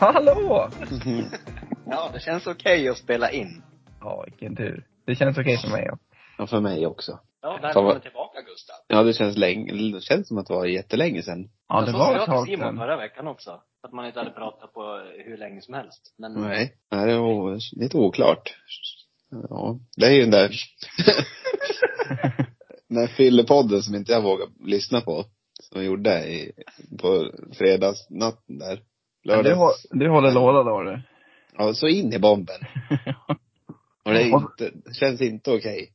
Hallå! Ja, det känns okej att spela in. Ja, vilken tur. Det känns okej för mig. ja. Ja, för mig också. Ja, Ta välkommen vad- tillbaka Gustav. Ja, det känns länge, det känns som att det var jättelänge sedan. Ja, det så var sa ett jag tag till Simon sedan. förra veckan också. Att man inte hade pratat på hur länge som helst. Men Mm. Nej. Nej, det var lite oklart. Ja, det är ju den där den där fyllepodden som inte jag vågar lyssna på. Som jag gjorde i, på fredagsnatten där. Men Du, Lördag. hå- du håller låda då du. Ja, så in i bomben. Och det är inte, det känns inte okej.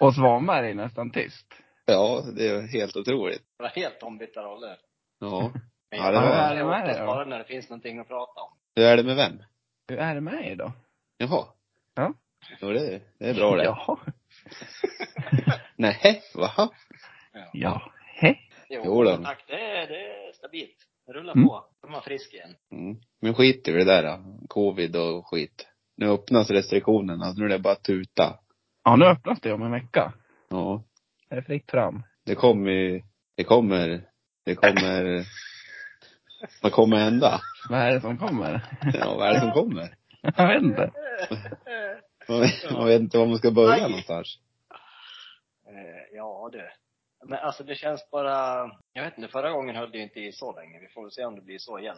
Och Svanberg är nästan tyst. Ja, det är helt otroligt. det var helt ombytta roller. Ja. Men Ja, det jag var- gillar Ja, det var det då. bara när det finns någonting att prata om. Hur är det med vem? Hur är det med er då? Jaha. Ja. Jo, det, det är bra det. Jaha. Nej, va? Ja. Hej. Jo då. tack. Det är, det är stabilt. Det rullar Mm. på. Då är man frisk igen. Mm. Men skit i det där då. Covid och skit. Nu öppnas restriktionerna. Nu är det bara att tuta. Ja, nu öppnas det om en vecka. Ja. Det är fritt fram. Det kommer ju- Det kommer. Det kommer. Vad kommer hända? Vad är det som kommer? Ja, vad är det som kommer? Jag vet inte. Man vet- Man vet inte var man ska börja någonstans. Eh, ja du. Men alltså det känns bara, jag vet inte, förra gången höll det ju inte i så länge. Vi får väl se om det blir så igen.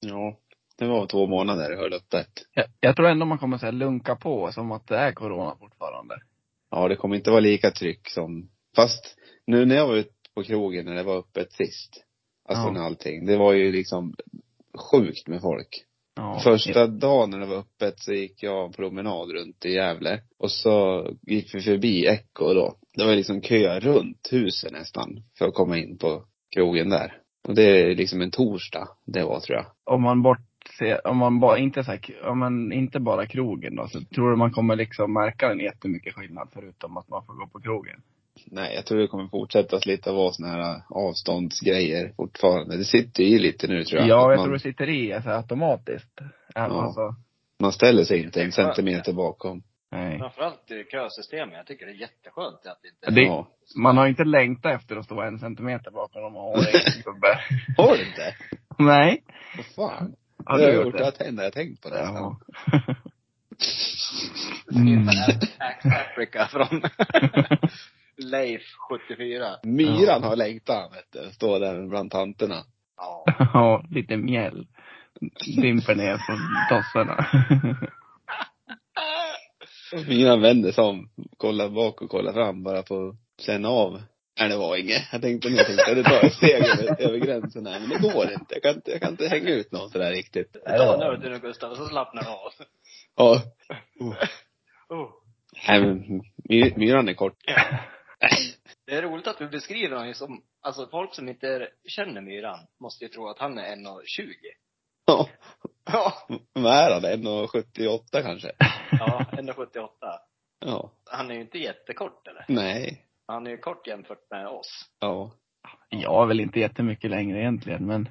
Ja. Det var två månader det höll öppet. Jag, jag tror ändå man kommer så här lunka på som att det är corona fortfarande. Ja, det kommer inte vara lika tryck som, fast nu när jag var ute på krogen när det var öppet sist. Alltså Ja. när allting, det var ju liksom sjukt med folk. Ja. Första dagen när det var öppet så gick jag en promenad runt i Gävle. Och så gick vi förbi Echo då. Det var liksom kö runt huset nästan för att komma in på krogen där. Och det är liksom en torsdag det var tror jag. Om man bortser, om man bara, inte så här, om man inte bara krogen då, så tror du man kommer liksom märka en jättemycket skillnad förutom att man får gå på krogen? Nej, jag tror det kommer fortsätta lite vara såna här avståndsgrejer fortfarande. Det sitter ju i lite nu tror jag. Ja, Att jag man, tror det sitter i alltså, automatiskt. Även Ja. alltså, man ställer sig inte Det är en skönt. centimeter bakom. nej. Framförallt eh, kösystemet. Jag tycker det är jätteskönt att det inte... Det- Ja. Man har ju inte längtat efter att stå en centimeter bakom dem och ha en gubbe. Har du inte? Nej. Vad fan. Har det har du jag gjort gjort. Jag det? har tänkt, jag har tänkt på det. Ja. Mm. Mm. Africa från Leif 74. Myran har längtan vet du. Står där bland tanterna. Ja. ja, lite mjäll. Dimper ner från dossarna. Myran vänder sig om, kollar bak och kollar fram bara för att känna av. Nej det var inget. Jag tänkte nu tänkte jag, det tar ett steg över, över gränsen här. Men det går inte. Jag kan inte, jag kan inte hänga ut någon sådär riktigt. Ta en öl till nu Gustav, och så slappnar du av. Ja. Oh. Nej men, my, myran är kort. Det är roligt att du beskriver honom ju som, alltså folk som inte är- känner Myran måste ju tro att han är 1,20. Ja. Ja. Vad är han? 1,78 kanske? Ja, 1,78. Ja. Han är ju inte jättekort eller? Nej. Han är ju kort jämfört med oss. Ja. Jag är väl inte jättemycket längre egentligen, men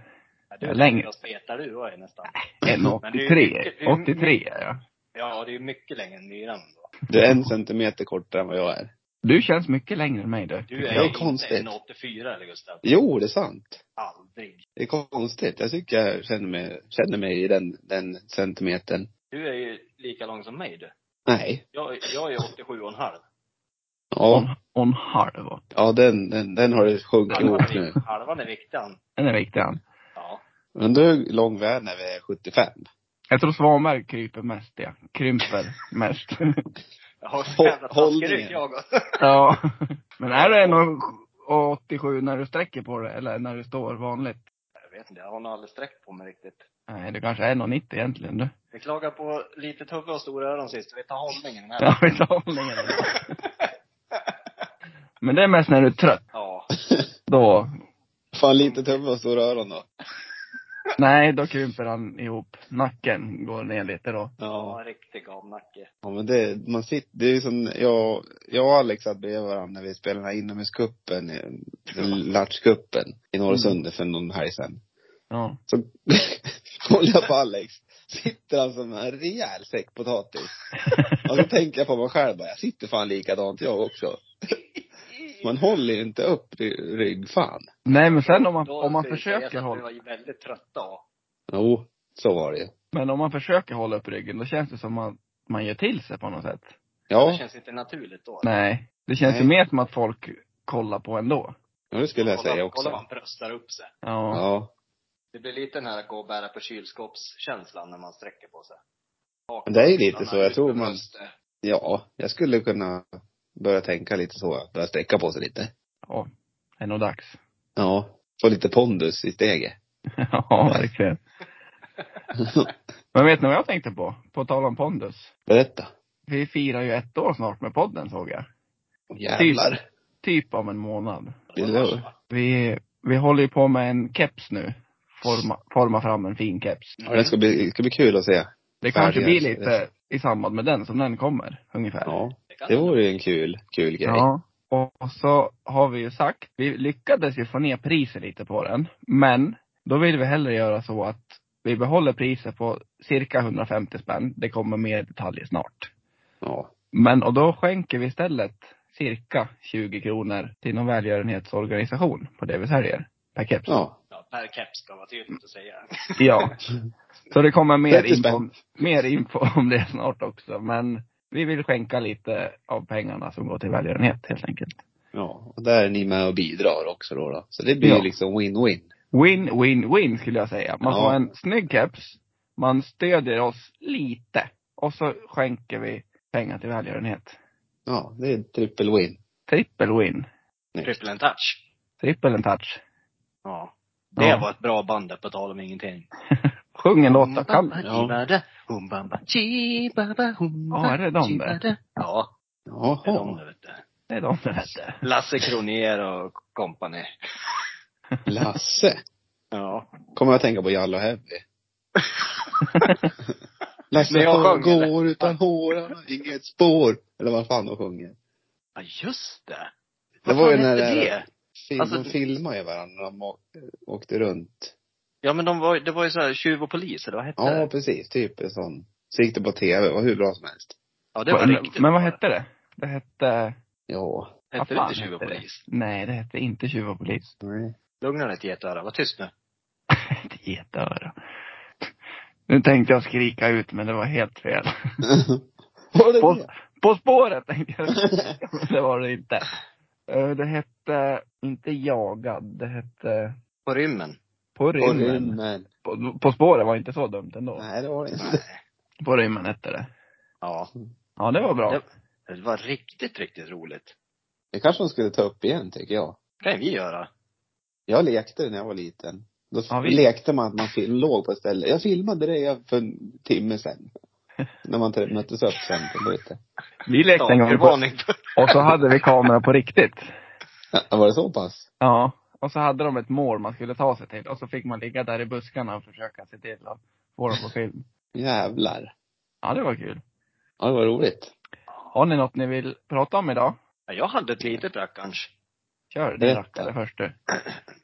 Ja, Du Ja, är längre. längre och spetar du och är nästan. en Men det är ju 83. mycket- det är ju 83 är jag. Ja, det är ju mycket längre än Myran då. Du är en centimeter kortare än vad jag är. Du känns mycket längre än mig du. Du är Det är ju inte konstigt. 1,84 eller Gustav? Jo, det är sant. Aldrig. Det är konstigt. Jag tycker jag känner mig, känner mig i den, den centimetern. Du är ju lika lång som mig du. Nej. Jag, jag är 87,5. Ja. Och en halv åt. Ja, den, den, den har det sjunkit Halvan ihop är nu. vikt- Halvan är viktan. Den är viktig han. Ja. Undrar hur lång världen är vid 75? Jag tror Svanberg kryper mest ja. Krymper mest. Jag har så Hå- jävla hållningen. taskryck jag också. Ja. Men är det 1,87 när du sträcker på det eller när du står vanligt? Jag vet inte, jag har nog aldrig sträckt på mig riktigt. Nej, det kanske är 1,90 egentligen du. Vi klagade på litet huvud och stora öron sist, vi tar hållningen i den här. Ja, vi tar hållningen. Men det är mest när du är trött. Ja. Då, Fan, lite tumme och stora öron då. nej då krymper han ihop. Nacken går ner lite då. Ja, Ja. en riktig gamnacke. Ja, men det, man sitter, det är ju som, jag, jag och Alex satt bredvid varandra när vi spelade den här inomhuscupen, eh, Lartscupen i Norrsundet för någon helg sedan. Ja. Så kollar jag på Alex. Sitter han som en rejäl säck potatis. Och så tänker jag på mig själv bara, jag sitter fan likadant jag också. Man håller ju inte upp ry- rygg fan. Nej men sen om man, Då om man skulle jag säga försöker att Vi hålla. var ju väldigt trötta och Jo, så var det ju. Men om man försöker hålla upp ryggen, då känns det som att man gör till sig på något sätt. Det Ja, känns inte naturligt då. Nej. Det känns ju Nej. mer som att folk kollar på ändå. det skulle jag Kolla- säga Kolla vad också. han bröstar upp sig. Ja. Ja. Det blir lite den här gå och bära på kylskåpskänslan när man sträcker på sig. Men det är ju lite Armarna så. Jag ut tror med eh, man, bröstet. ja, jag skulle kunna börja tänka lite så. Börja sträcka på sig lite. Ja. Det är nog dags. Ja. Få lite pondus i steget. ja, verkligen. Men vet ni vad jag tänkte på? På tal om pondus. Berätta. Vi firar ju ett år snart med podden såg jag. Åh, Jävlar. Typ om en månad. Det Vill var du? så. Vi, vi håller ju på med en keps nu. Forma, forma fram en fin keps. Ja, det ska bli, det ska bli kul att se. Det kanske Färdiga, blir lite i samband med den som den kommer, ungefär. Ja. Det kan Det det vore ju en kul, kul grej. Ja. Och så har vi ju sagt, vi lyckades ju få ner priset lite på den. Men då vill vi hellre göra så att vi behåller priset på cirka 150 spänn. Det kommer mer detaljer snart. Ja. Men och då skänker vi istället cirka 20 kronor till någon välgörenhetsorganisation på det vi säljer. Per keps. Ja. Ja, per keps ska vara tydligt att säga. Ja. Så det kommer mer 30 info, spänn. om, mer info om det snart också. Men vi vill skänka lite av pengarna som går till välgörenhet helt enkelt. Ja. Och där är ni med och bidrar också då. då. Så det blir Ja. ju liksom win-win. Win, win, win skulle jag säga. Man Ja. får en snygg keps, man stödjer oss lite och så skänker vi pengar till välgörenhet. Ja, det är en triple win. Triple win. Triple and touch. Triple and touch. Ja. Ja. Det var ett bra band där, på tal om ingenting. Sjung en Mm. låt då. Kan... Ja. Chibada, humbamba, chibaba, humba, Ja, är det de där? chibada. Ja, det är de Jaha. där vet du. Det är de som hette. Lasse Kronér och kompani. Lasse. Ja. Kommer jag att tänka på Jalla Heavy. När Lasse jag sjöng, går utan hårarna, inget spår. Eller vad fan de sjunger. Ja, just det. Det Vad var ju fan när hette det- det? Film, Alltså- de filmade ju varandra när de å- åkte runt. Ja, men de var, det var ju så här tjuv och polis, eller vad hette Ja, det? precis. Typ en sån. Så gick det på tv. var hur bra som helst. Ja, det var Men- riktigt Men vad bra. hette det? Det hette... Ja. Hette det Vad fan inte tjuv och hette det? polis? Nej, det hette inte Tjuv och polis. Mm. Nej. Lugna dig Getöra, var tyst nu. Ett getöra. Nu tänkte jag skrika ut men det var helt fel. Var det På, det? på spåret tänkte jag Men det var det inte. Eh, Det hette, inte jagad, det hette På rymmen. På På rymmen. rymmen. På, på spåret var inte så dumt ändå. Nej, det var det inte. Nej. På rymmen hette det. Ja. Ja, det var bra. Det, det var riktigt, riktigt roligt. Det kanske de skulle ta upp igen, tycker jag. Det kan vi göra. Jag lekte det när jag var liten. Då Ja, visst. lekte man att man film, låg på ett ställe. Jag filmade det jag- för en timme sen. när man t- möttes upp sen på byte. Vi lekte en gång på, Dagervarning. och så hade vi kamera på riktigt. Ja, Var det så pass? Ja. Och så hade de ett mål man skulle ta sig till och så fick man ligga där i buskarna och försöka se till att få dem på film. Jävlar. Ja, det var kul. Ja, det var roligt. Har ni något ni vill prata om idag? Ja, jag hade ett litet rackarns. Kör din Berätta. rackare först du.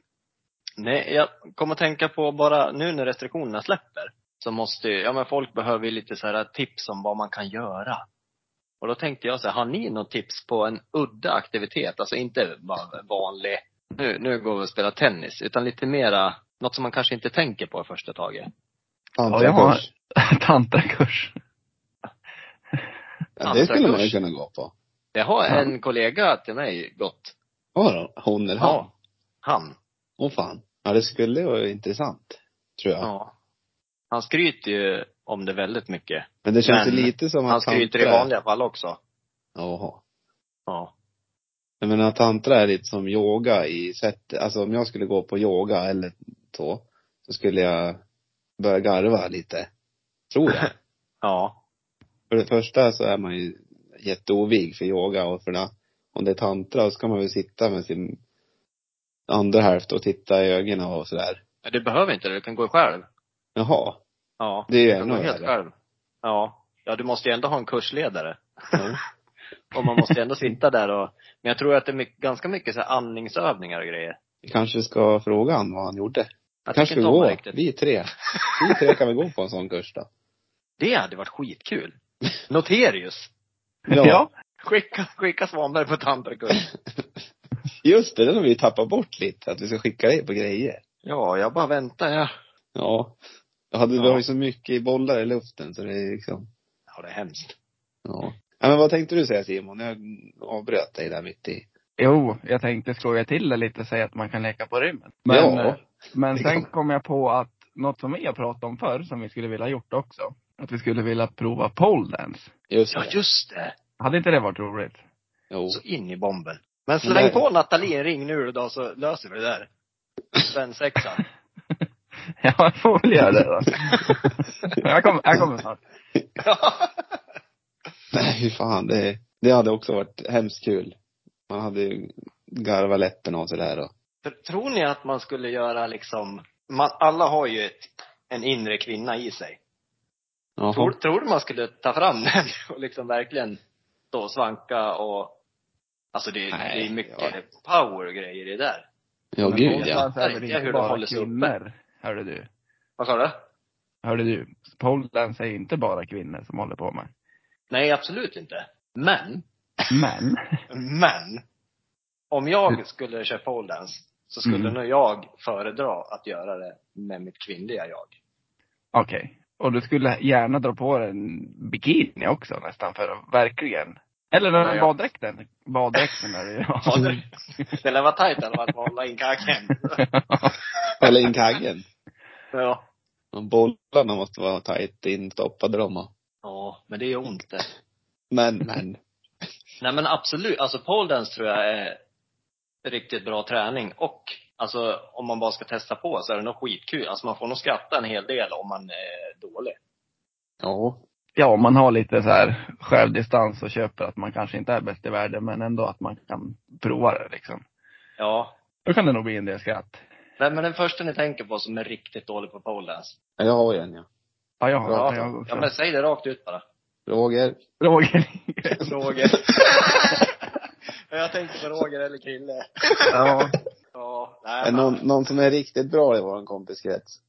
Nej, jag kom att tänka på bara nu när restriktionerna släpper. Så måste ju, ja men folk behöver ju lite så här tips om vad man kan göra. Och då tänkte jag så här, har ni något tips på en udda aktivitet? Alltså inte bara vanlig, nu, nu går vi och spelar tennis, utan lite mera, något som man kanske inte tänker på i första taget. Tantrakurs. jag har- Tantrakurs. Ja, det skulle man ju Tantrakurs. kunna gå på. Det har Ja. en kollega till mig gått. Ja då, hon eller han. Han. Åh fan. Ja, det skulle vara intressant. Tror jag. Ja. Han skryter ju om det väldigt mycket. Men det känns Men ju lite som att Han skryter i tantra- vanliga fall också. Jaha. Ja. Jag menar tantra är lite som yoga i sätt, alltså om jag skulle gå på yoga eller så, så skulle jag börja garva lite. Tror jag. Ja. För det första så är man ju jätteovig för yoga och för det, om det är tantra så ska man väl sitta med sin andra hälft och titta i ögonen och sådär. Men Du behöver inte det, du kan gå själv. Jaga. Ja. Det är ju du kan gå ännu helt värre. själv. Ja. Ja, du måste ju ändå ha en kursledare. Ja. Och man måste ju ändå sitta där och, men jag tror att det är mycket, ganska mycket så här andningsövningar och grejer. Vi kanske ska fråga han vad han gjorde. Jag kanske tycker vi inte om det går. riktigt. Vi tre. Vi tre kan väl gå på en sån kurs då. Det hade varit skitkul. Noterius. Ja. Skicka, skicka Svanberg på tantrakurs. Just det, den har vi ju tappat bort lite. Att vi ska skicka dig på grejer. Ja, jag bara väntar jag. Ja. Jag hade, Vi Ja. har ju så mycket bollar i luften så det är liksom, Ja, det är hemskt. ja. ja. men vad tänkte du säga Simon? Jag avbröt dig där mitt i. Jo, jag tänkte skoja till det lite och säga att man kan leka på rymmen. Men, Ja. eh, men det sen kan man. kom jag på att något som vi har pratat om förr, som vi skulle vilja ha gjort också. Att vi skulle vilja prova pole dance. Just Ja, det. just det! Hade inte det varit roligt? Jo. Så in i bomben. Men Men släng det- på Nathalie en ring nu då så löser vi det där. Svensexan. Ja, jag får väl göra det då. jag, kommer, jag kommer snart. Ja. Nej, hur fan. Det, det hade också varit hemskt kul. Man hade ju garvat läppen av sig där och Tr- Tror ni att man skulle göra liksom, man, alla har ju ett, en inre kvinna i sig. Tror, Jaha. tror du man skulle ta fram den och liksom verkligen stå och svanka och, alltså det, är- Nej, det är mycket ja. power grejer i det där. Ja, Men gud pole ja. dance är väl Jag inte hör det bara hålls uppe. kvinnor? Hörde du? Vad sa du? Hörde du? Pole dance är ju inte bara kvinnor som håller på med. Nej, absolut inte. Men, Men, men, om jag skulle köra poledance så skulle Mm. nog jag föredra att göra det med mitt kvinnliga jag. okej. Och du skulle gärna dra på dig en bikini också nästan för att verkligen. Eller den Ja, här ja. baddräkten. Baddräkten är det ju. Ja, det, det lär vara tajt i alla fall att hålla in kaken. Eller in kaggen. Ja. Och Bollarna måste vara tajt instoppade de och. Ja, men det gör ont det. Men, men. Nej men absolut, alltså poledance tror jag är riktigt bra träning och alltså om man bara ska testa på så är det nog skitkul. Alltså man får nog skratta en hel del om man är dålig. Ja. ja, om man har lite så här självdistans och köper att man kanske inte är bäst i världen men ändå att man kan prova det liksom. Ja. Då kan det nog bli en del skratt. Nej men den första ni tänker på som är riktigt dålig på poledance. Ja, Jag har ju en ja. Ja, jag har Ja, jag har Ja också. men säg det rakt ut bara. Roger. Roger. Roger. jag tänkte på Roger eller Krille. ja. Ja, nej Är men. någon, någon som är riktigt bra i våran kompiskrets?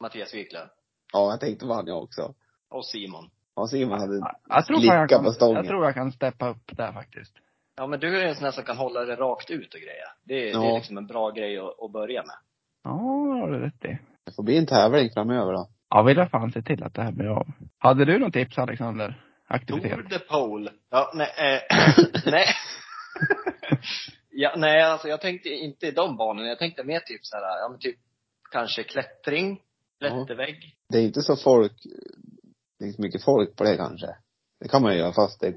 Mattias Wiklund. Ja, jag tänkte på han jag också. Och Simon. Ja, Simon hade, Jag tror fan jag Slicka på kan, stången. jag tror jag kan steppa upp där faktiskt. Ja men du är en sån här som kan hålla det rakt ut och grejer. Det, det Ja. är liksom en bra grej att, att börja med. Ja, det har du rätt i. det får bli en tävling framöver då. Ja, vill jag fan se till att det här blir av. Hade du något tips Alexander? Aktivitet? Tour de Pole. Ja, nej. Eh, nej. ja, nej, alltså jag tänkte inte i de banorna. Jag tänkte mer typ så här, ja men typ kanske klättring, klättervägg. Det är inte så folk, det är inte så mycket folk på det kanske. Det kan man ju göra fast det är Är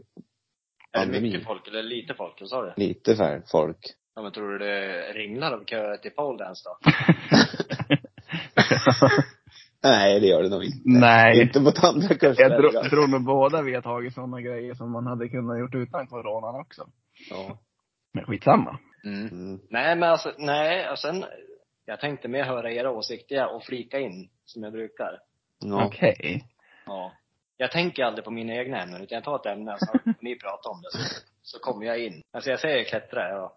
det Pandemi. mycket folk eller lite folk? Vad sa du? lite färre folk. Ja men tror du det ringlar av köer till pole dance då? Nej, det gör det nog inte. Nej. Inte på Jag tandläkarstället. tror, tror nog båda vi har tagit sådana grejer som man hade kunnat gjort utan coronan också. Ja. Men skitsamma. Mm. Nej men alltså, nej, och sen, jag tänkte mer höra era åsikter och flika in som jag brukar. Ja. Okej. Ja. Jag tänker aldrig på mina egna ämnen, utan jag tar ett ämne och så ni pratar om det. Så, så kommer jag in. Alltså jag säger klättra, ja.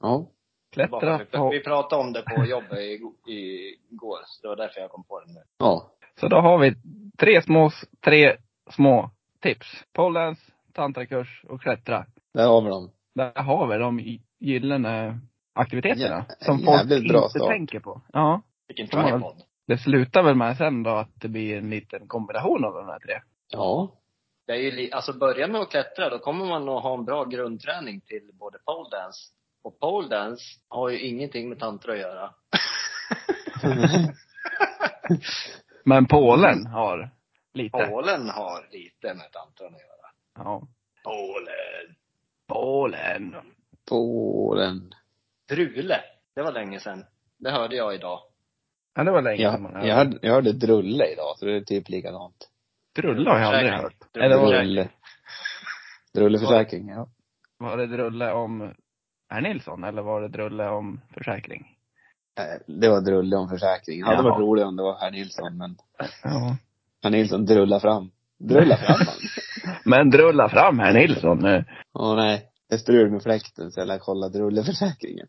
Ja. Klättra Bara för- på. Vi pratade om det på jobbet i- igår, så det var därför jag kom på det nu. Ja. Så då har vi tre små, tre små tips. Pollens, tantrakurs och klättra. Där har vi dem. Där har vi de gy- gyllene aktiviteterna. Ja, som folk jävligt bra inte start. tänker på. Ja. Vilken Ja. tripod. Det slutar väl med sen då att det blir en liten kombination av de här tre. Ja. Det är ju, li- alltså börja med att klättra, då kommer man att ha en bra grundträning till både pole dance och pole dance har ju ingenting med tantra att göra. Men Polen Mm. har lite. Polen har lite med tantran att göra. Ja. Polen. Polen. på den. Drule. Det var länge sedan. Det hörde jag idag. Ja, det var länge Jag, sedan man jag, hörde, jag hörde drulle idag, så det är typ likadant. Drulle har jag aldrig Försäkring. hört. Drulle. Eller var, Drulle. Drulleförsäkring, ja. var det Drulle om herr Nilsson eller var det Drulle om försäkring? Eh, Det var drulle om försäkring. Det hade Jaha. varit roligt om det var herr Nilsson, men Ja. herr Nilsson drullar fram. Drullar fram han. Men drulla fram herr Nilsson nu. Åh nej. Det är strul med fläkten, så jag lär kolla drulleförsäkringen.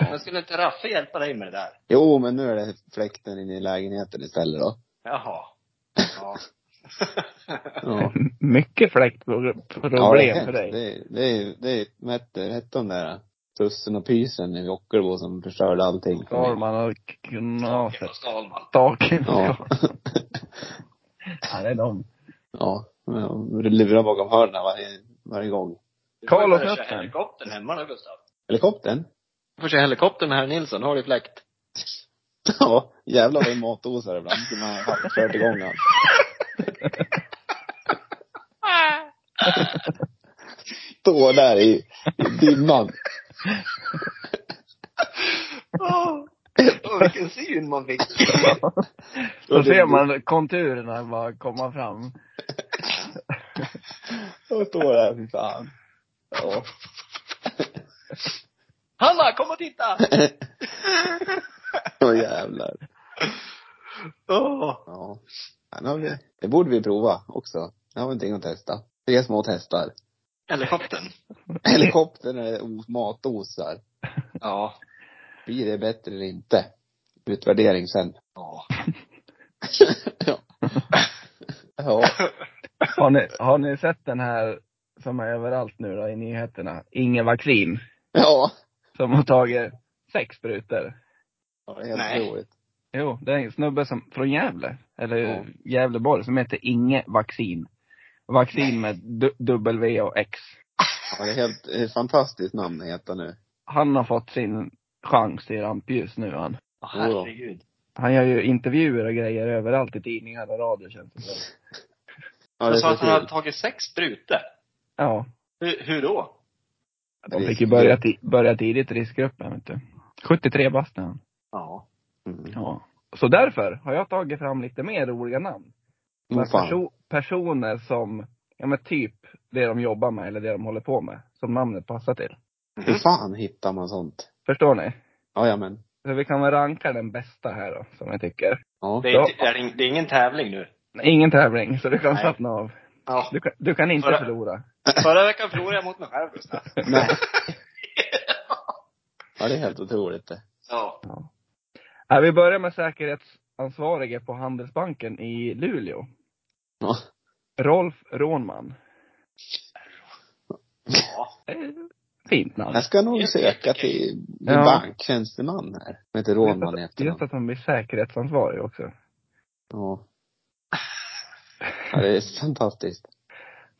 Men skulle inte Raffe hjälpa dig med det där? Jo, men nu är det fläkten inne i lägenheten istället då. Jaha. Ja. Ja. Mycket fläktproblem Ja, det är för hemskt. dig. Det, är- det är, det är, vad hette- vad hette de där? Tussen och Pysen i Ockelbo som förstörde allting för mig. Skalman och Knaset. och Skalman. Staken och Ja. Skalman. Ja, det är de. Ja. men de Lurar bakom hörnen varje, varje gång. Du Karl får och börja köra Petter. helikoptern hemma då, Gustav. Helikoptern? Du får köra helikoptern här Nilsson, har du fläkt? Ja. Jävlar vad det matosar ibland. Skulle man ha kört igång den. Stå där i, i dimman. Åh, vilken syn man fick. Då ser man konturerna bara komma fram. Och stå där, fy fan. Ja. Hanna, kom och titta! Åh jävlar. Åh. Ja. Ja, nu har vi- Det borde vi prova också. Det har vi någonting att testa. Tre små testar. Helikoptern. Helikoptern är o- matosar. Ja. Blir det bättre eller inte? Utvärdering sen. Ja. ja. ja. Har ni, har ni sett den här som är överallt nu då i nyheterna? Ingen vaccin. Ja. Som har tagit sex sprutor. Ja, det är helt Nej. roligt. Jo, det är en snubbe som, från Gävle, eller Ja. Gävleborg, som heter Inge Vaccin. Vaccin med du- W och X. Ja, det är helt det är ett fantastiskt namn det heter nu. Han har fått sin chans i rampljus nu han. Åh, herregud. Han gör ju intervjuer och grejer överallt i tidningar och radio känns det som. Ja, Du det sa är att så han hade kul. tagit sex sprutor. Ja. Hur, hur då? De fick ju börja, ti- börja tidigt i riskgruppen vet du. 73 bast är han. Ja. Mm. Ja. Så därför har jag tagit fram lite mer roliga namn. Oh, Med fan. perso- personer som, ja men typ det de jobbar med eller det de håller på med. Som namnet passar till. Hur Mm. fan hittar man sånt? Förstår ni? Ja, ja men. Så vi kan väl ranka den bästa här då, som jag tycker. Ja. Det är, inte, det är ing- det är ingen tävling nu. Nej, Ingen tävling, så du kan Nej. slappna av. Ja. Du kan, du kan inte Förra- förlora. Förra veckan förlorade jag mot mig själv, Gustav. Nej. Ja, det är helt otroligt det. Ja. Ja, vi börjar med säkerhetsansvarige på Handelsbanken i Luleå. Ja. Rolf Rånman. Ja. Eh, Fint namn. Jag ska nog söka till till Ja. banktjänsteman här. Som heter Rådman i Just att- Just efternamn. att han blir säkerhetsansvarig också. Ja. ja. Det är fantastiskt.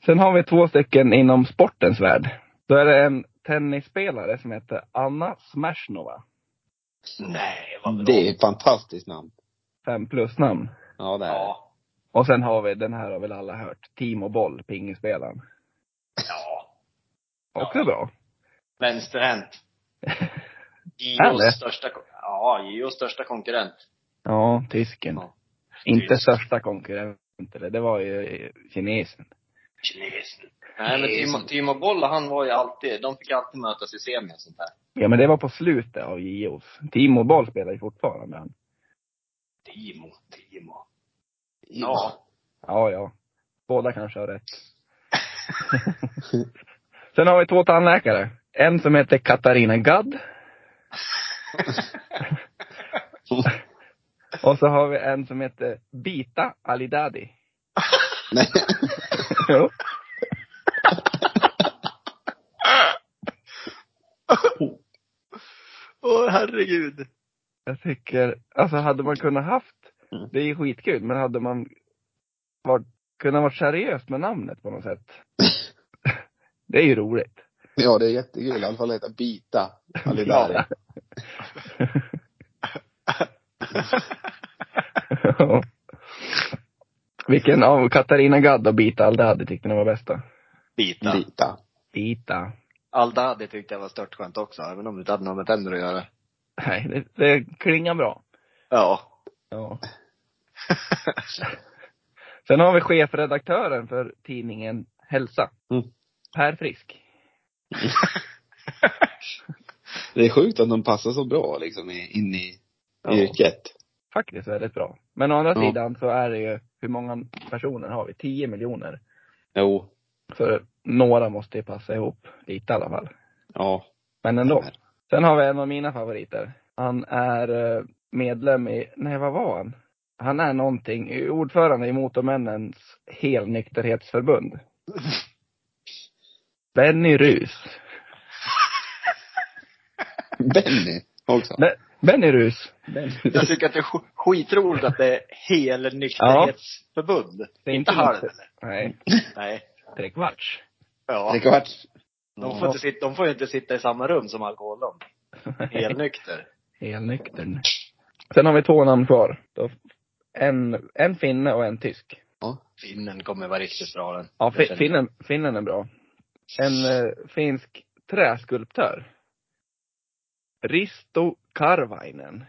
Sen har vi två stycken inom sportens värld. Då är det en tennisspelare som heter Anna Smashnova. Nej, vad bra. Det är ett fantastiskt namn. Fem plus namn. Ja, det är det. Ja. Och sen har vi, den här har väl alla hört, Timo Boll, pingisspelaren. Ja. Också Ja. bra. Vänsterhänt. Härligt. Gios största, kon- ja, Gios största konkurrent. Ja, tysken. Ja. Inte Tysk. största konkurrenten, eller det var ju kinesen. Kinesen. Nej, men Timo, Timo Boll, han var ju alltid, de fick alltid mötas i semi och sånt där. Ja men det var på slutet av JOs. Timo Boll spelar ju fortfarande han. Timo, Timo. Ja. Ja. Ja, ja. Båda kanske har rätt. Sen har vi två tandläkare. En som heter Katarina Gadd. Och så har vi en som heter Bita Alidadi. Nej. Jo. Åh, herregud. Jag tycker, alltså hade man kunnat haft, Mm. det är ju skitkul, men hade man varit, kunnat vara seriös med namnet på något sätt. Det är ju roligt. Ja, det är jättekul. I alla fall att heta Bita. Alidari. Ja. Ja. Vilken av Katarina Gadd och Bita Aldadi tyckte ni var bästa? Bita. Bita. Bita. Aldadi tyckte jag var störtskönt också, även om det inte hade något med tänder att göra. Nej, det, det klingar bra. Ja. Ja. Sen har vi chefredaktören för tidningen Hälsa. Mm. Per Frisk. Det är sjukt att de passar så bra liksom i- in i Ja. yrket. Faktiskt väldigt bra. Men å andra Ja. sidan så är det ju, hur många personer har vi? 10 miljoner. Jo. Så några måste ju passa ihop lite i alla fall. Ja. Men ändå. Sen har vi en av mina favoriter. Han är eh, medlem i, nej vad var han? Han är någonting, ordförande i Motormännens helnykterhetsförbund. Benny Rus. Benny också. Nej. Benny Rus. Jag tycker att det är sk- skitroligt att det är helnykterhetsförbund. Det är Inte inte halv. något- Nej, Nej. trekvarts. Ja. Trekvarts. De får, inte sitta, de får ju inte sitta i samma rum som alkoholen. Helnykter. Helnyktern. Sen har vi två namn kvar. Då- En, en finne och en tysk. Finnen kommer vara riktigt bra den. Ja, Jag fi, känner- finnen, finnen är bra. En eh, finsk träskulptör. Risto Karvainen.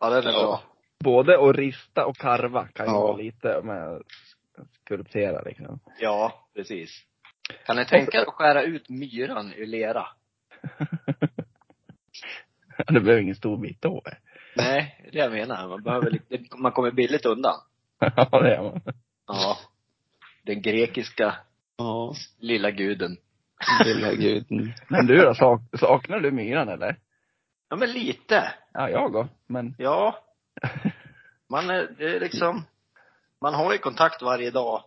Ja, den är Ja. bra. Både att rista och karva kan ju Ja. vara lite med skulptera liksom. Ja, precis. Kan ni tänka er att skära ut myran ur lera? Det behöver ingen stor bit då. Nej, det är det jag menar. Man behöver lite, man kommer billigt undan. ja, det är man. Ja. Den grekiska Ja. lilla guden. Lilla guden. Men du då, sak- saknar du myran eller? Ja, men lite. Ja, jag då. Men Ja. Man är, det är liksom, man har ju kontakt varje dag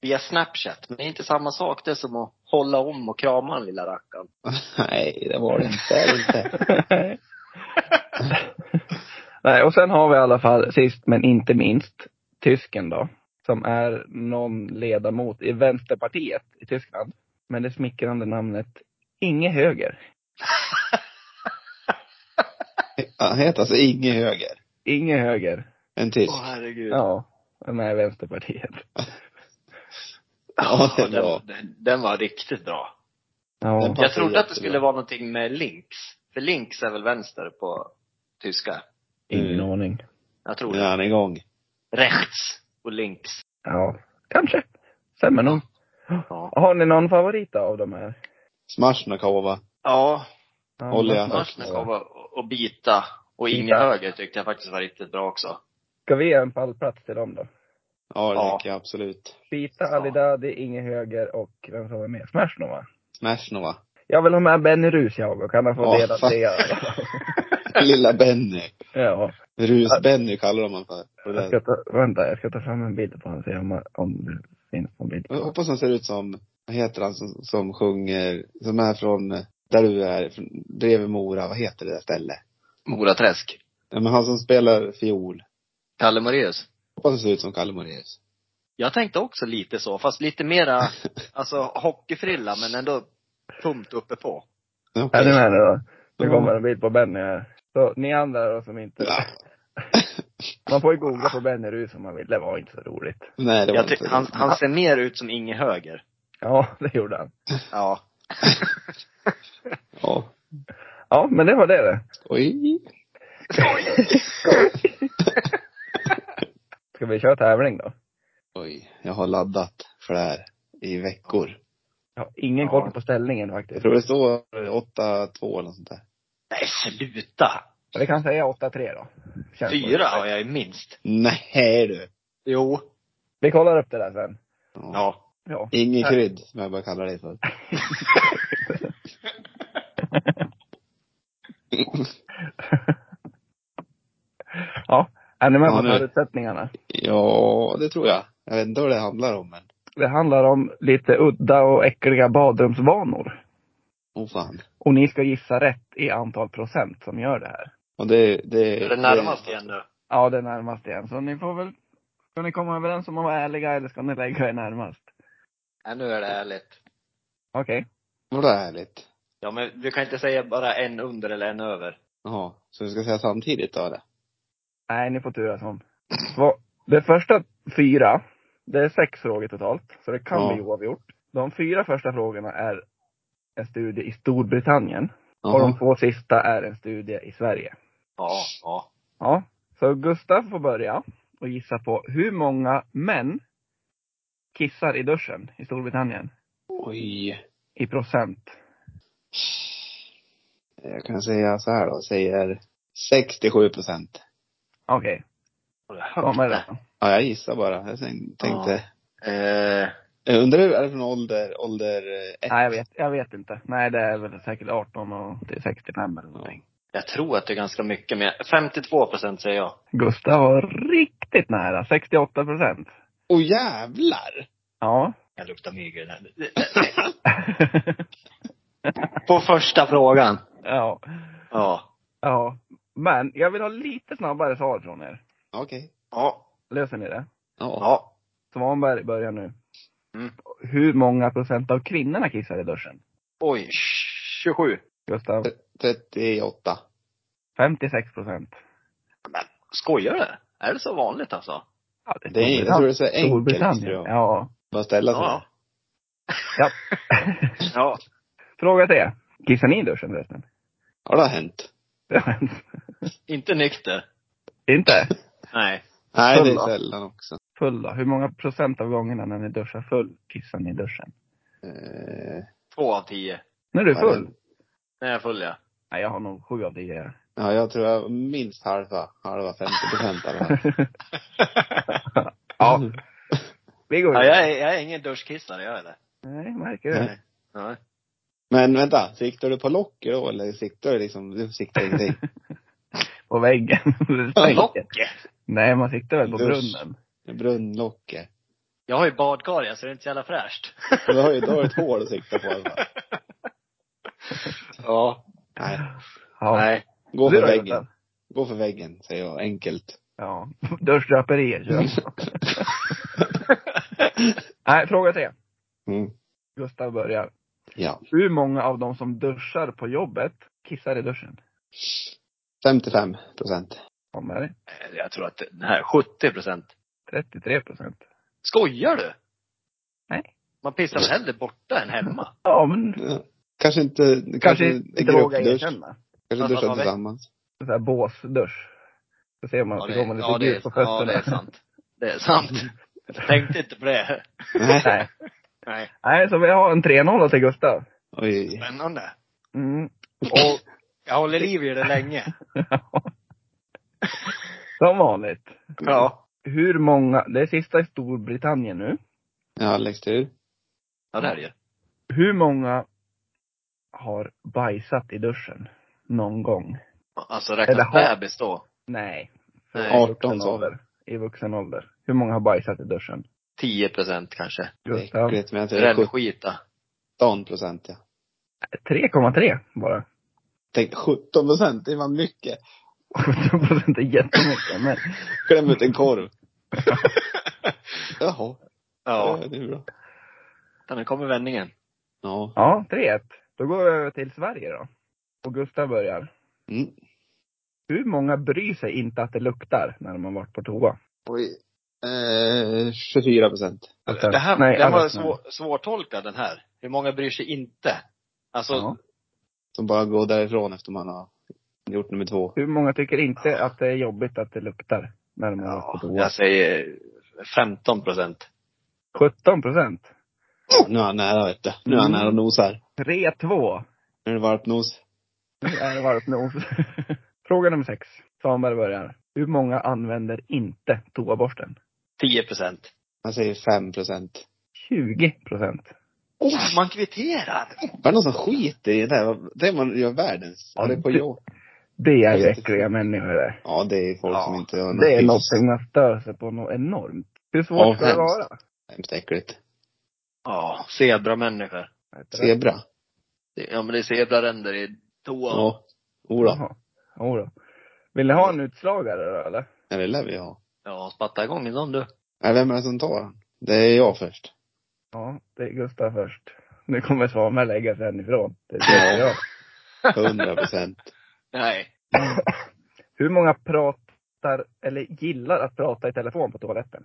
via Snapchat. Men det är inte samma sak det som att hålla om och krama den lilla rackaren. Nej, det var det inte. Det är det inte. Nej, och sen har vi i alla fall sist men inte minst tysken då. Som är någon ledamot i Vänsterpartiet i Tyskland. Med det smickrande namnet Inge Höger. Han heter alltså Inge Höger. Inge Höger. En tysk. Åh herregud. Ja, med Vänsterpartiet. Ja, det Ja, är bra. den, den, den var riktigt bra. Ja. Den Jag passar trodde att det jättebra. skulle vara någonting med links. För links är väl vänster på tyska? Ingen Mm. aning. Jag tror Nu det. är han igång. Rechts och links. Ja, kanske. Stämmer nog. Ja. Har ni någon favorit då av de här? Smashnakova. Ja, Ja, Olja. vad smart. Masnikov och, och bita. Och Inge Bita. Höger tyckte jag faktiskt var riktigt bra också. Ska vi ge en pallplats till dem då? Ja, det Ja. tycker jag absolut. Bita, Ja. Alidadi, Inge Höger och vem som var med? Smashnova? Smashnova. Jag vill ha med Benny Rus jag och kan han få Ja, dela fan. det? Ja, Lilla Benny. ja. Rus-Benny kallar de honom för. Jag Det där. ska ta, vänta, jag ska ta fram en bild på honom och se om, om det finns någon bild. Jag hoppas han ser ut som, vad heter han som, som sjunger, som är från, eh, där du är, från- bredvid Mora, vad heter det där stället? Moraträsk. Ja, men han som spelar fiol. Kalle Moraeus. Hoppas han ser ut som Kalle Moraeus. Jag tänkte också lite så, fast lite mera, alltså hockeyfrilla men ändå tomt uppe på. Är ni Okay. med nu då? Nu kommer en bild på Benny här. Så ni andra då som inte... Ja. Man får ju googla på Benny Rus om man vill. Det var inte så roligt. Nej, det var Jag inte ty- han, han ser mer ut som Inge Höger. Ja, det gjorde han. Ja. Ja. Ja, men det var det det. Oj. Ska vi köra tävling då? Oj. Jag har laddat för det här i veckor. Jag har ingen Ja. koll på ställningen faktiskt. Jag tror det står 8-2 eller något sånt där. Nej sluta! Men vi kan säga 8-3 då. Känns Fyra bra. har jag ju minst. Nej du. Jo. Vi kollar upp det där sen. Ja. Ja. Ja. Ingen krydd, som jag bara kallar dig för. Är ni med Ja, på nu. förutsättningarna? ja, det tror jag. Jag vet inte vad det handlar om men. Det handlar om lite udda och äckliga badrumsvanor. Oh fan. Och ni ska gissa rätt i antal procent som gör det här. Och det, det. Det är det närmaste igen nu. Ja, det är närmast igen. Så ni får väl, ska ni komma överens om att vara ärliga eller ska ni lägga er närmast? Nej nu är det ärligt. Okej. Vad härligt. Ja men du kan inte säga bara en under eller en över. Jaha. Så vi ska säga samtidigt då eller? Nej, ni får turas om. Vad- Det första fyra, det är sex frågor totalt, så det kan Ja. bli oavgjort. De fyra första frågorna är en studie i Storbritannien. Och de Jaha. två sista är en studie i Sverige. Ja. Ja. Ja, så Gustav får börja och gissa på hur många män kissar i duschen i Storbritannien Oj. i procent. Jag kan säga så här då. Säger 67 procent. Okej, Och det är okay, högt kom med det. då. Ja, jag gissar bara. Jag tänk- tänkte. där. Eh, Jag undrar hur är det från ålder, ålder eh, ett? Nej, jag vet, jag vet inte. Nej, det är väl säkert 18 och till 65 eller någonting. jag tror att det är ganska mycket mer. 52 procent säger jag. Gustav var riktigt nära, 68 procent. Åh jävlar! Ja, Jag luktar mygel här. På första frågan. ja. Ja. Ja. Men jag vill ha lite snabbare svar från er. Okej. Ja. Löser ni det? Ja. Ja. Svanberg börjar nu. Mm. Hur många procent av kvinnorna kissar i duschen? Oj. 27. Gustav? 38. 56 procent. Men, skojar du? Är det så vanligt alltså? Ja, Det är, jag tror det är så enkelt. Storbritannien. Tror jag. Ja. Bara ställa sig Ja. ja. ja. Ja. Fråga tre. Kissar ni i duschen förresten? Har det hänt? Det har hänt. Inte nykter. Inte? Nej. Nej, det Sällan. är sällan också. Full då? Hur många procent av gångerna när ni duschar full kissar ni i duschen? Eh, Två av tio. När du är Ja, det- full? När jag är full ja. Nej, jag har nog sju av tio. ja, jag tror jag minst halva, halva 50 procent av det här. ja. Vi går ja vidare. jag, är, jag är ingen duschkissare, jag är det. Nej, märker du. Nej. Men vänta, siktar du på locker då eller siktar du liksom, du siktar ingenting? På väggen. Locket. Nej, man siktar väl på Dusch. brunnen. Brunnlocker. Jag har ju badkar så det är inte så jävla fräscht. Du har ju, du har ett hål att sikta på i alla fall. Ja. Nej. Ja. Nej. Gå Du för då, väggen. Gustav? Gå för väggen, säger jag enkelt. Ja. Duschdraperier kör jag. Nej, fråga tre. Mm. Gustav börjar. Ja. Hur många av de som duschar på jobbet kissar i duschen? 55 procent. Kommer det? Eh, Jag tror att det här, 70 procent. 33 procent. Skojar du? Nej. Man pissar väl hellre borta än hemma? Ja, men Ja. Kanske inte, kanske, kanske en inte våga gruppdusch. erkänna. Alltså, Kanske Fast att duscha ha vägg. tillsammans. En sån här båsdusch. Då ser man, så går man lite ja, det, gult är, på ja, fötterna. det är sant. Det är sant. Jag tänkte inte på det. Nej. Nej. Nej. Nej, så vi har en 3-0 till Gustav. Oj. Spännande. Mm. Och jag håller liv i det länge. Som vanligt. Ja. Hur många, det är sista i Storbritannien nu. Ja, Alex tur. Ja, det är det ju. Hur många har bajsat i duschen någon gång? Alltså Eller räknas har- bebis då? Nej. Nej. I vuxen 18 sa ålder. I vuxen ålder. Hur många har bajsat i duschen? 10 procent kanske. Gustav? Äckligt, men jag tror det är Rännskita. 17 procent ja. 3,3 bara. Tänk 17 procent, det var mycket. 17 procent är jättemycket. Men, Kläm ut en korv. Jaha. Ja. Ja. Det är bra. Nu kommer vändningen. Ja. ja, 3-1. Då går vi över till Sverige då. Och Gustav börjar. Mm. Hur många bryr sig inte att det luktar när de har varit på toa? Oj. Eh, 24 procent. Alltså, Det här nej, den var alltså, svår, svårtolkad den här. Hur många bryr sig inte? Alltså, Ja. Som bara går därifrån efter man har gjort nummer två. Hur många tycker inte att det är jobbigt att det luktar när de har ja, varit på toa? jag säger 15 procent. 17 procent. Nu är han nära vet du. Nu är han Mm. nära och nosar. 3-2. Nu är det varmt nos. Nu är det varmt nog. Fråga nummer sex. Samuel börjar. Hur många använder inte toaborsten? 10 procent. Han säger 5 procent. 20 procent. Oh, man kvitterar! Var det någon som skiter i det där? Det man gör världens. Ja, Ja, det är på det- jobb. Det Jag är vet äckliga människor det. Ja, det är folk Ja, som inte har Det är något- någonting man stör sig på något enormt. Hur svårt Ja, ska det hemskt. vara? Hemskt äckligt. Ja, zebramänniskor. Zebra. Det- Ja men det är zebraränder i toan. Ja. Jodå. Jaha. Jodå. Vill ni ha en utslagare då eller? Ja, det lär vi ha. Ja, spatta igång i dem du. Nej, vem är det som tar den? Det är jag först. Ja, det är Gustav först. Nu kommer Samuel lägga sig hemifrån. Det Ja. tror jag. 100 procent. Nej. Hur många pratar eller gillar att prata i telefon på toaletten?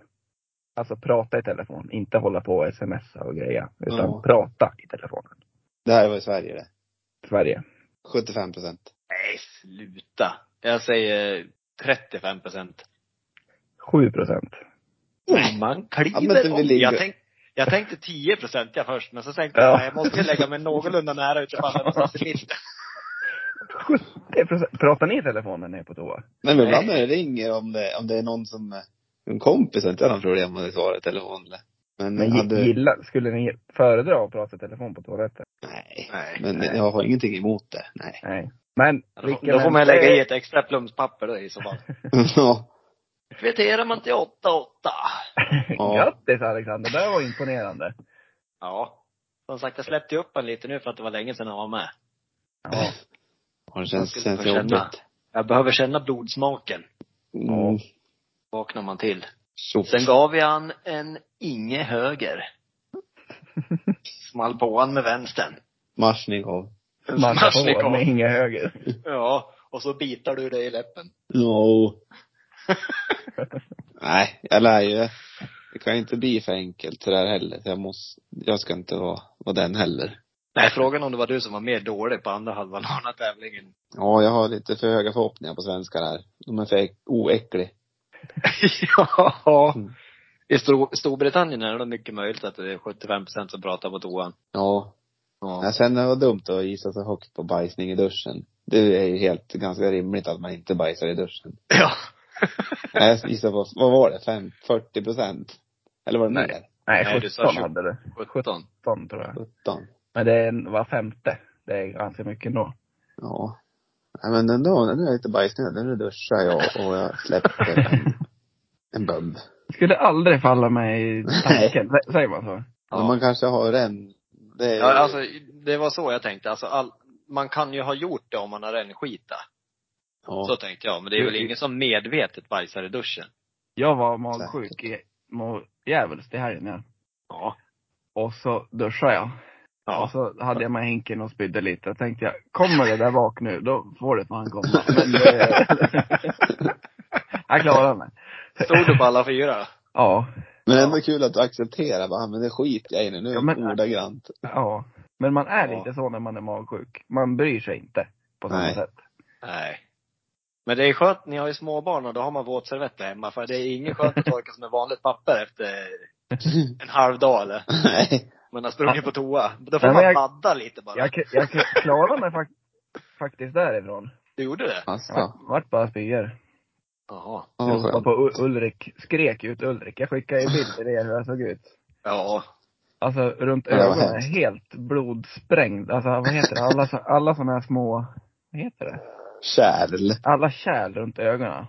Alltså prata i telefon, inte hålla på och smsa och greja. Utan Ja. prata i telefonen. Det här var i Sverige det. Sverige. 75 procent. Nej, sluta. Jag säger 35 procent. 7 procent. Oh, Man Ja, men det kliver vill om. Jag, ligga. tänk, jag tänkte 10 procent jag först, men så tänkte Ja. jag, nej, jag måste ju lägga mig någorlunda nära utifall jag någonstans i mitten. 70 procent. Pratar ni i telefonen när ni är på toa? Nej men ibland Nej. när det ringer om det, om det är någon som, eh, en kompis har inte haft problem med att svara i telefon eller. Men, Men hade, hade... gilla, skulle ni föredra att prata i telefon på toaletten? nej. Nej. Men jag har ingenting emot det. Nej. Nej. Men Då, då får man lägga i ett extra plumspapper då i så fall. ja. Kvitterar man till 8-8. Grattis Alexander, det där var imponerande. Ja. Som sagt, jag släppte ju upp han lite nu för att det var länge sedan han var med. Mm. Ja. Och det känns, skulle känns få känna. jobbigt. Jag behöver känna blodsmaken, Mm. vaknar man till. Tjoff. Sen gav vi han en inge höger. Small på han med vänstern. Marsnikov. Man Smash får Nicole. med inga höger. Ja, och så bitar du dig i läppen. No. Nej, jag lär ju. Det kan ju inte bli för enkelt sådär heller. Jag måste, jag ska inte vara, vara den heller. Nej, frågan om det var du som var mer dålig på andra halvan av den här tävlingen. Ja, jag har lite för höga förhoppningar på svenskar här. De är för äck- oäcklig. ja. I Stor- Storbritannien är det mycket möjligt att det är 75 som pratar på toan. Ja. Ja. ja. Sen det var dumt att gissa så högt på bajsning i duschen. Det är ju helt, ganska rimligt att man inte bajsar i duschen. ja. Nej, jag gissar på, vad var det? Fem, 40 procent? Eller var det Nej. mer? Nej, Nej, du sa 17 tjugo. hade det. 17. 17 tror jag. 17? Men det är var femte. Det är ganska mycket ändå. Ja. Nej, men ändå, nu är jag lite bajsnödig. Nu duschar jag och jag släpper en, en bubb. Skulle aldrig falla mig i tanken. Sä- Säger man så? Men man kanske har en, det är, Ja, alltså, det var så jag tänkte. Alltså, all, man kan ju ha gjort det om man har rännskita. ja. Så tänkte jag. Men det är väl ingen som medvetet bajsar i duschen. Jag var magsjuk i må- djävulskt i helgen ja. Ja. Och så duschade jag. Och Ja. så hade jag med hinken och spydde lite. Jag tänkte jag, kommer det där bak nu, då får det fan komma. Men det, jag klarade mig. Stod du på alla fyra? Ja. Men Ja. ändå kul att du accepterar bara, "Ah, men det skiter jag i nu, nu Ja, men- ordagrant. Ja. Men man är Ja. lite så när man är magsjuk. Man bryr sig inte på samma Nej. sätt. Nej. Men det är skönt, ni har ju småbarn och då har man våtservetter hemma. För det är ingen skönt att torka sig med vanligt papper efter en halv dag eller. Nej. Man har sprungit på toa. Då får Nej, man men jag- badda lite bara. Jag, k- jag k- klarade mig fak- faktiskt därifrån. Du gjorde det? Alltså. Ja. Vart bara spyor. Jaha. Ja, vad Jag skönt. på U- Ulrik, skrek ut Ulrik. Jag skickade ju bild till er hur jag såg ut. Ja. Alltså runt Ja, det var ögonen, hemskt. helt blodsprängd. Alltså vad heter det? Alla, så- alla såna här små, vad heter det? Kärl. Alla kärl runt ögonen.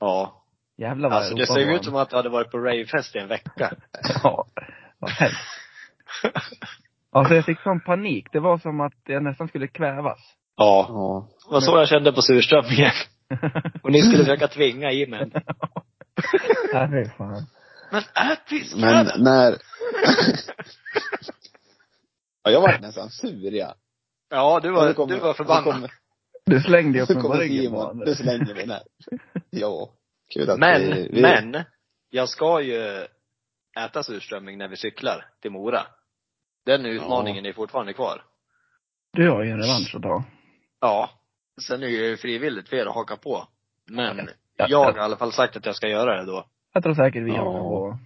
Ja. Jävlar vad Alltså jag det ropade ser på ju ut som honom. att du hade varit på ravefest i en vecka. Ja, vad hemskt. Alltså jag fick sån panik. Det var som att jag nästan skulle kvävas. Ja. Ja. Det var så jag kände på surströmmingen. Och ni skulle försöka tvinga i mig. Nej, fy fan. Men ät fiskbröd! Men när... ja, jag var nästan sur ja. Ja, du var, Nu kommer- du var nu förbannad. kommer- Du slängde ju upp Nu mig på kommer ryggen på Simon. honom. Nu slänger vi den här. Ja. Kul att Men, vi, vi... men. Jag ska ju äta surströmming när vi cyklar till Mora. Den utmaningen är fortfarande kvar. Du har ju en revansch att ta. Ja. Sen är det ju frivilligt för er att haka på. Men Ja, jag har jag- i alla fall sagt att jag ska göra det då. Jag tror säkert vi Ja. har på.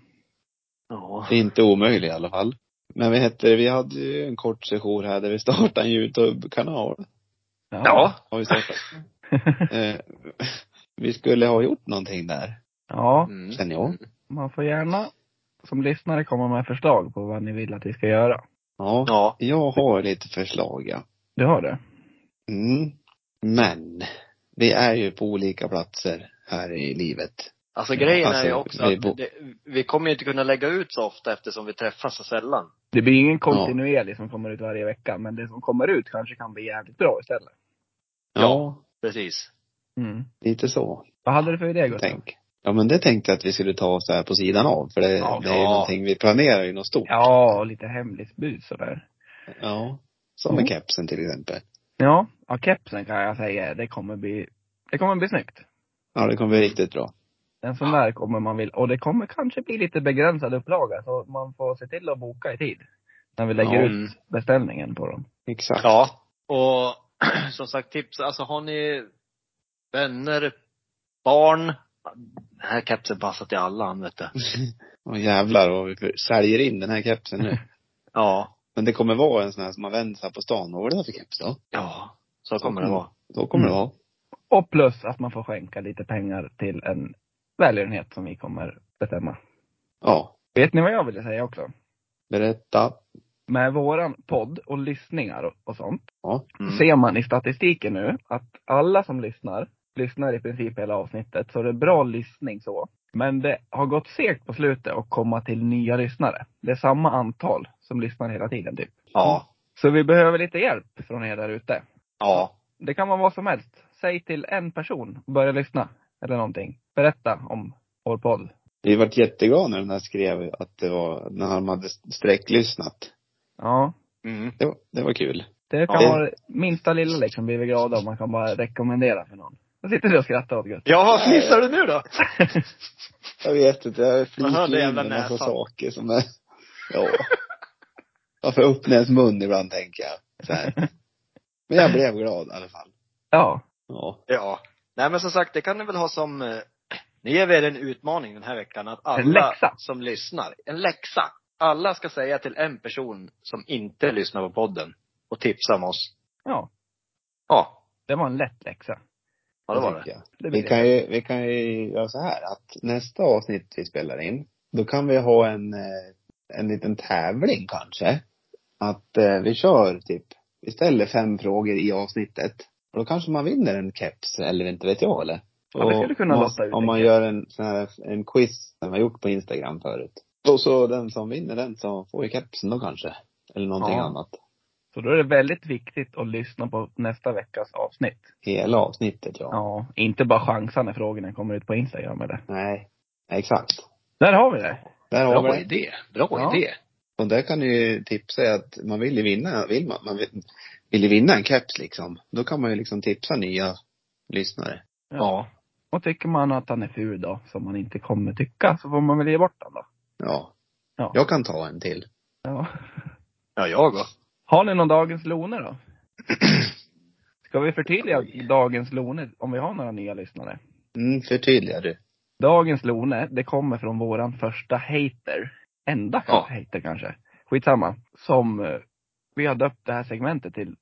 Ja. Det är inte omöjligt i alla fall. Men vi hette, vi hade ju en kort session här där vi startade en YouTube-kanal. Ja. Har vi startat. eh, vi skulle ha gjort någonting där, Ja. Mm. känner jag. Man får gärna som lyssnare komma med förslag på vad ni vill att vi ska göra. Ja. Ja. Jag har lite förslag ja. Du har det? Mm. Men, vi är ju på olika platser här i livet. Alltså grejen är ju Alltså, också vi att bo- det, vi kommer ju inte kunna lägga ut så ofta eftersom vi träffas så sällan. Det blir ingen kontinuerlig som kommer ut varje vecka, men det som kommer ut kanske kan bli jävligt bra istället. Ja. Precis. Mm. Lite så, Vad hade du för idé Gustav? tänk. Ja men det tänkte jag att vi skulle ta så här på sidan av, för det, Ja. det är ju någonting, vi planerar ju något stort. Ja, och lite hemligt bus sådär. Ja. Som Mm. med kepsen till exempel. Ja, ja kepsen kan jag säga, det kommer bli, det kommer bli snyggt. Ja det kommer bli riktigt bra. En sån där kommer man vilja, och det kommer kanske bli lite begränsad upplaga, så man får se till att boka i tid. När vi lägger Ja. ut beställningen på dem. Exakt. Ja. Och som sagt tips, alltså har ni vänner, barn. Den här kepsen passar till alla han vet du. Åh jävlar vad vi för- säljer in den här kepsen nu. Ja. Men det kommer vara en sån här som man vänder sig på stan. Vad var det där för keps då? Ja. Så kommer det Mm. vara. Så kommer Mm. det vara. Och plus att man får skänka lite pengar till en välgörenhet som vi kommer bestämma. Ja. Vet ni vad jag ville säga också? Berätta. Med våran podd och lyssningar och, och sånt, Ja. Mm. ser man i statistiken nu att alla som lyssnar, lyssnar i princip hela avsnittet. Så det är bra lyssning så. Men det har gått segt på slutet att komma till nya lyssnare. Det är samma antal som lyssnar hela tiden typ. Ja. Så vi behöver lite hjälp från er där ute. Ja. Det kan vara vad som helst. Säg till en person och börja lyssna. Eller någonting. Berätta om vår podd. Vi vart jätteglada när den här skrev att det var, när han hade sträcklyssnat. Ja. Mm. Det var, det var kul. Det kan Ja. vara det minsta lilla liksom, blir vi glada om man kan bara rekommendera för någon. Då sitter du och skrattar åt gött. Ja, fnissar du nu då? Jag vet inte, jag Man hörde flikar in jävla en massa näsan. saker som är, ja. Jag får upp ens mun ibland tänker jag. Så här. Men jag blev glad i alla fall. Ja. Ja. Ja. Nej men som sagt, det kan ni väl ha som, eh, nu ger vi er en utmaning den här veckan att En alla läxa. som lyssnar, en läxa. Alla ska säga till en person som inte lyssnar på podden och tipsa om oss. Ja. Ja, Det var en lätt läxa. ja det var det. tycker jag. Det Vi blir det. kan ju, vi kan ju göra så här att nästa avsnitt vi spelar in, då kan vi ha en, eh, en liten tävling kanske. Att eh, vi kör typ, vi ställer fem frågor i avsnittet. Och då kanske man vinner en keps eller inte vet jag eller? Ja, det skulle kunna Och låta ut Om en man keps. gör en sån här, en quiz som man gjort på Instagram förut. Och så den som vinner den som får ju kepsen då kanske. Eller någonting Ja. annat. Så då är det väldigt viktigt att lyssna på nästa veckas avsnitt. Hela avsnittet ja. Ja. Inte bara chansa när frågorna kommer ut på Instagram eller. Nej, exakt. Där har vi det. Där har vi Bra det. idé. Bra Ja. idé. Och där kan du ju tipsa er att man vill ju vinna, vill man, man vill, vill ju vinna en keps liksom. Då kan man ju liksom tipsa nya lyssnare. Ja. Ja. Och tycker man att han är ful då, som man inte kommer tycka, så får man väl ge bort han då. Ja. Ja. Jag kan ta en till. Ja. Ja, jag och. Har ni någon dagens loner då? Ska vi förtydliga dagens loner om vi har några nya lyssnare? Mm, förtydliga du. Dagens Lone, det kommer från våran första hater. Enda Ja. hater kanske. Skitsamma. Som eh, vi har döpt det här segmentet till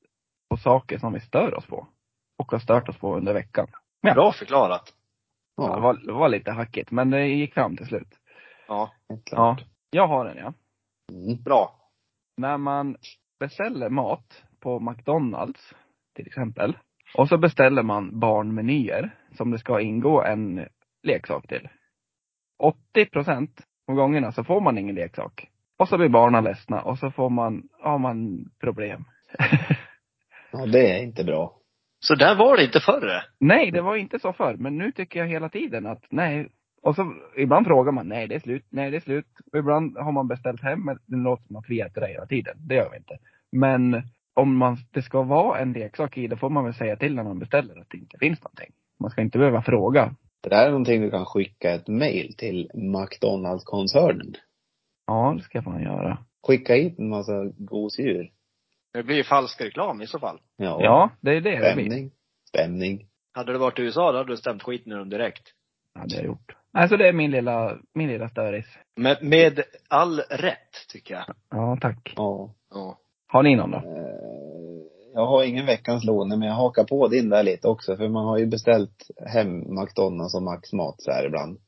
på saker som vi stör oss på. Och har stört oss på under veckan. Ja. Bra förklarat. Ja, det, Ja, var, det var lite hackigt, men det gick fram till slut. Ja, helt Ja. klart. Jag har en ja. Mm. bra. När man beställer mat på McDonalds till exempel. Och så beställer man barnmenyer som det ska ingå en leksak till. 80 procent av gångerna så får man ingen leksak. Och så blir barnen ledsna och så får man, har man problem. Ja, det är inte bra. Så där var det inte förr. Nej, det var inte så förr. Men nu tycker jag hela tiden att nej. Och så ibland frågar man, nej det är slut, nej det är slut. Och ibland har man beställt hem, men det låter som att vi äter det hela tiden. Det gör vi inte. Men om man, det ska vara en leksak i, då får man väl säga till när man beställer att det inte finns någonting. Man ska inte behöva fråga. Det där är någonting du kan skicka ett mail till McDonalds-koncernen. Ja, det ska jag fan göra. Skicka hit en massa gosedjur. Det blir ju falsk reklam i så fall. Ja. Ja, det är det det blir. Stämning. Stämning. Hade det varit i USA då hade du stämt skiten ur dem direkt. hade jag gjort. Alltså det är min lilla, min lilla störis. Med, med all rätt, tycker jag. Ja, tack. Ja. Ja. Har ni någon då? Eh, Jag har ingen veckans låne, men jag hakar på din där lite också. För man har ju beställt hem McDonalds och Max Mat så här ibland.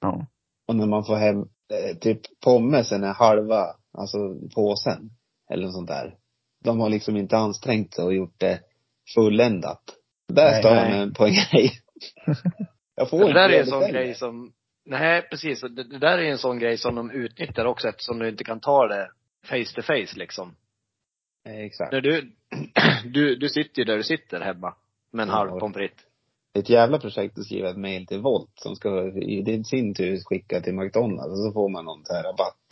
Ja. Och när man får hem, eh, typ pommesen är halva, alltså påsen. Eller något sånt där. De har liksom inte ansträngt sig och gjort det fulländat. Där Nej, står jag nej. mig på en grej. jag får Det inte där det är jag en sån beställer. grej som, nej precis, det, det där är en sån grej som de utnyttjar också eftersom du inte kan ta det face to face liksom. Eh, Exakt. När du, du, du sitter ju där du sitter hemma med en Ja. halv pommes frites. Det är ett jävla projekt att skriva ett mail till Volt som ska i det är sin tur skicka till McDonalds och så får man någon så här rabatt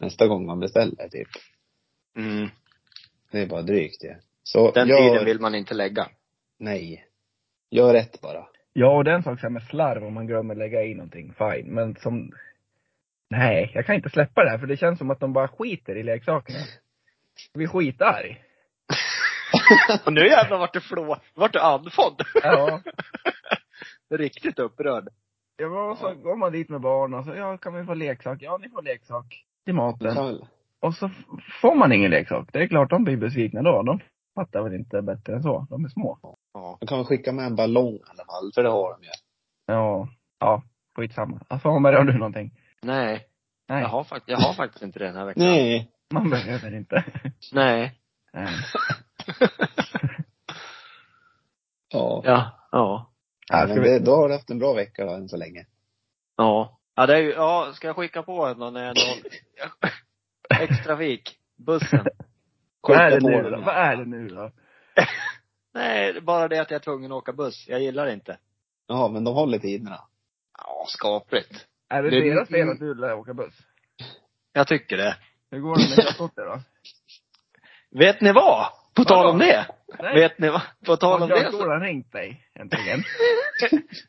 nästa gång man beställer typ. Mm. Det är bara drygt det. Så Den gör, tiden vill man inte lägga. Nej. Gör rätt bara. Ja, och den sak så här med slarv, om man glömmer lägga i någonting, fine. Men som... Nej, jag kan inte släppa det här för det känns som att de bara skiter i leksakerna. Vi skitarg. Och nu jävlar vart du flå, vart du andfådd. Ja. Riktigt upprörd. Jag var, så går man dit med barn och så, ja kan vi få leksak? Ja, ni får leksak. Till Du maten. kan väl- Och så f- får man ingen leksak. Det är klart de blir besvikna då. De fattar väl inte bättre än så. De är små. Ja. Du kan väl skicka med en ballong i alla fall, för det har de ju. Ja. Ja, skitsamma. Alltså, Holmberg, har du någonting? Nej. Nej, Jag har, fakt- jag har faktiskt inte det den här veckan. Nej. man behöver inte. Nej. Nej. Ja. Ja. Ja. Ja, men ska vi- det, då har du haft en bra vecka då, än så länge. Ja. Ja, det är ju, ja, ska jag skicka på någon när jag ändå... Extravik. Bussen. Vad är det Skicka på nu den. då? Vad är det nu då? Nej, det är bara det att jag är tvungen att åka buss. Jag gillar det inte. Ja, men de håller tiderna. Ja, skapligt. Är det, Det är deras min- fel att du lär åka buss? Jag tycker det. Hur går det med körkortet då? Vet ni vad? På tal om det. Nej. Vet ni vad? På tal om Har det så... körskolan ringt dig äntligen?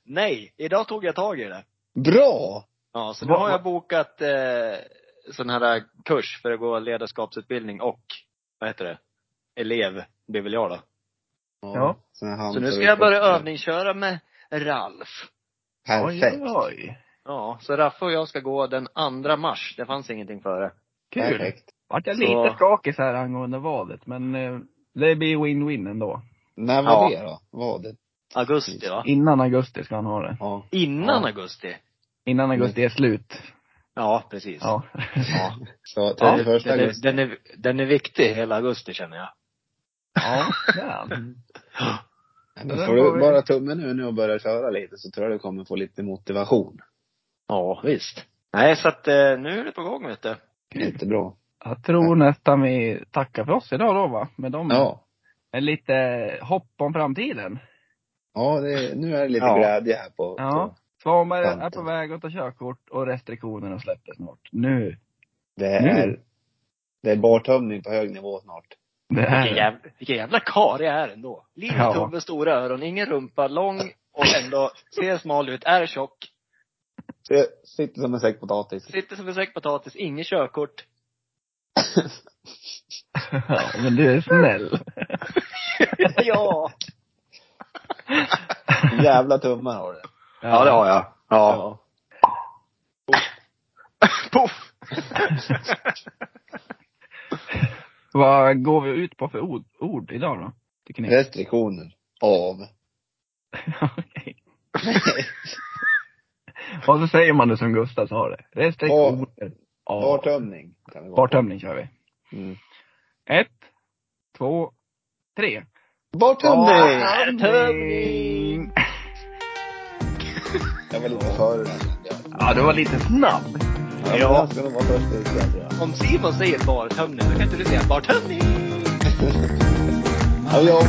Nej, idag tog jag tag i det. Bra! Ja, så nu Vad- har jag vad- bokat eh, sån här eh, kurs för att gå ledarskapsutbildning och, vad heter det, elev blir väl jag då. Ja. Sen han Så nu får ska vi jag koppla. börja övningsköra med Ralf. Perfekt. Oj, oj. Ja, så Raffe och jag ska gå den 2 mars. Det fanns ingenting före. Kul. Perfekt. Vart jag Så- lite skakig så här angående valet, men eh, det blir win-win ändå. När var Ja. det då? Var det? Augusti va? Innan augusti ska han ha det. Ja. Innan Ja. augusti. Innan augusti är slut. Ja, precis. Ja. Ja. Så Ja, 31 den, är, augusti. den, är, den är viktig hela augusti känner jag. Ja, fan. Nej, men den får får du vi- bara tummen nu nu och börja köra lite så tror jag du kommer få lite motivation. Ja, visst. Nej, så att eh, nu är det på gång vet du. Jättebra. Jag tror nästan vi tackar för oss idag då va? Med dem. Ja. En lite hopp om framtiden. Ja, det, nu är det lite Ja. glädje här på. Ja. på- Svanberg är på Framtiden. väg att ta körkort och restriktionerna släpper snart. Nu. Det Mm. Nu. är, det är bartömning på hög nivå snart. Det Vilken är jävla, vilken jävla karl jag är ändå. Liten Ja. tumme, stora öron, ingen rumpa, lång och ändå ser smal ut, är tjock. Så jag sitter som en säck potatis. Sitter som en säck potatis, inget körkort. ja, men du är snäll. ja. Jävla tummar har du. ja, det har jag. Ja. Poff! Vad går vi ut på för ord, ord idag då? Tycker ni? Restriktioner. Av. Okej. Och så säger man det som Gustav sa det. Restriktioner. Ja. Bartömning. Kan vi gå på. Bartömning kör vi. Mm. Ett, två, tre. Bartömning! Bartömning! Jag var lite före den. Ja, du var lite snabb. Ja. men Jag ska nog vara först ut där, tror jag. Om Simon säger bartömning, då kan inte du säga bartömning! Ja, jag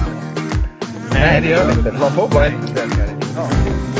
Nej, det gör vi inte. Man får bara ett beställningar. Ja.